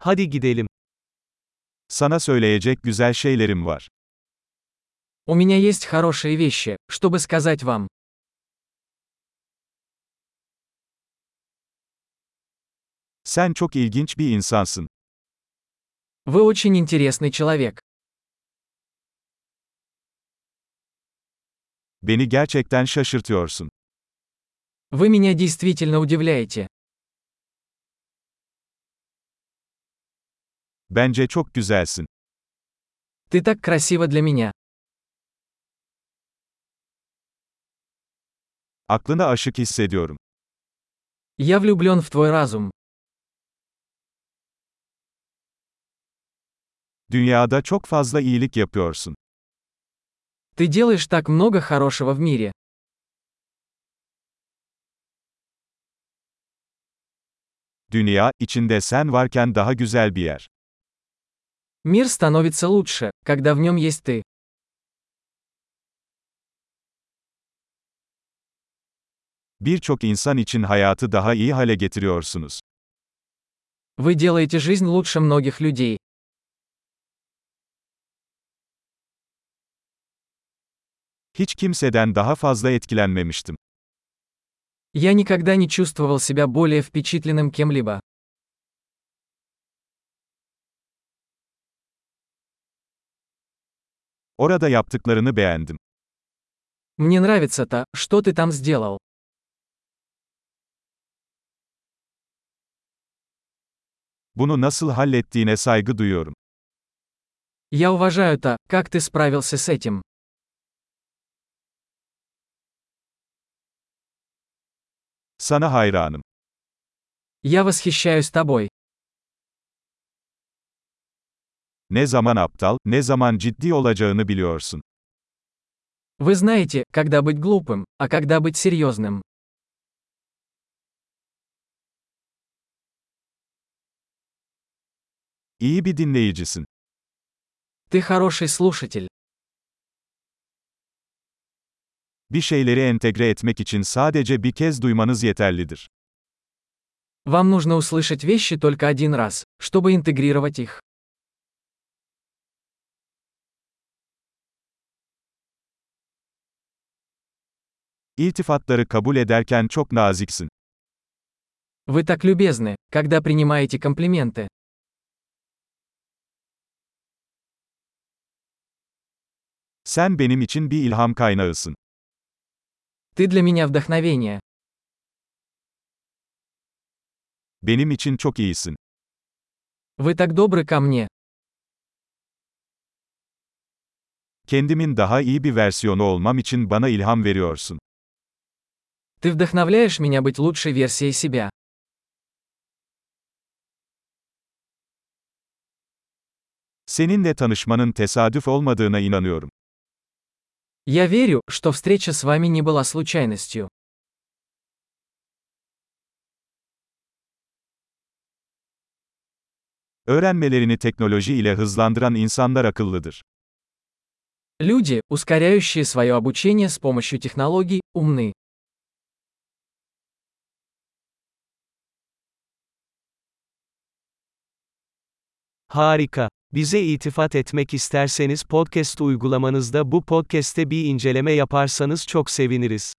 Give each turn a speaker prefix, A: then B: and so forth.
A: Hadi gidelim.
B: Sana söyleyecek güzel şeylerim var.
C: У меня есть хорошие вещи, чтобы сказать вам.
B: Sen çok ilginç bir insansın.
C: Вы очень интересный человек.
B: Beni gerçekten şaşırtıyorsun.
C: Вы меня действительно удивляете.
B: Bence çok güzelsin.
C: Ты так красива для меня.
B: Aklına aşık hissediyorum.
C: Я влюблен в твой разум.
B: Dünyada çok fazla iyilik yapıyorsun.
C: Ты делаешь так много хорошего в мире.
B: Dünya, içinde sen varken daha güzel bir yer.
C: Мир становится лучше, когда в нем есть ты.
B: Birçok insan için hayatı daha iyi hale getiriyorsunuz.
C: Вы делаете жизнь лучше многих людей.
B: Hiç kimseden daha fazla etkilenmemiştim.
C: Я никогда не чувствовал себя более впечатленным кем-либо.
B: Orada yaptıklarını beğendim.
C: Мне нравится то, что ты там сделал.
B: Bunu nasıl hallettiğine saygı duyuyorum.
C: Я уважаю то, как ты справился с этим.
B: Sana hayranım.
C: Я восхищаюсь тобой.
B: Ne zaman aptal, ne zaman ciddi olacağını biliyorsun.
C: Вы знаете, когда быть глупым, а когда быть серьезным.
B: İyi bir dinleyicisin.
C: Ты хороший слушатель.
B: Bir şeyleri entegre etmek için sadece bir kez duymanız yeterlidir.
C: Вам нужно услышать вещи только один раз, чтобы интегрировать их.
B: İltifatları kabul ederken çok naziksin.
C: Вы так любезны, когда принимаете комплименты.
B: Sen benim için bir ilham kaynağısın.
C: Ты для меня вдохновение.
B: Benim için çok iyisin.
C: Вы так добры ко мне.
B: Kendimin daha iyi bir versiyonu olmam için bana ilham veriyorsun.
C: Ты вдохновляешь меня быть лучшей версией себя.
B: Seninle tanışmanın tesadüf olmadığına inanıyorum.
C: Я верю, что встреча с вами не была случайностью.
B: Öğrenmelerini teknoloji ile hızlandıran insanlar akıllıdır.
C: Люди, ускоряющие свое обучение с помощью технологий, умны.
A: Harika. Bize itifat etmek isterseniz podcast uygulamanızda bu podcast'te bir inceleme yaparsanız çok seviniriz.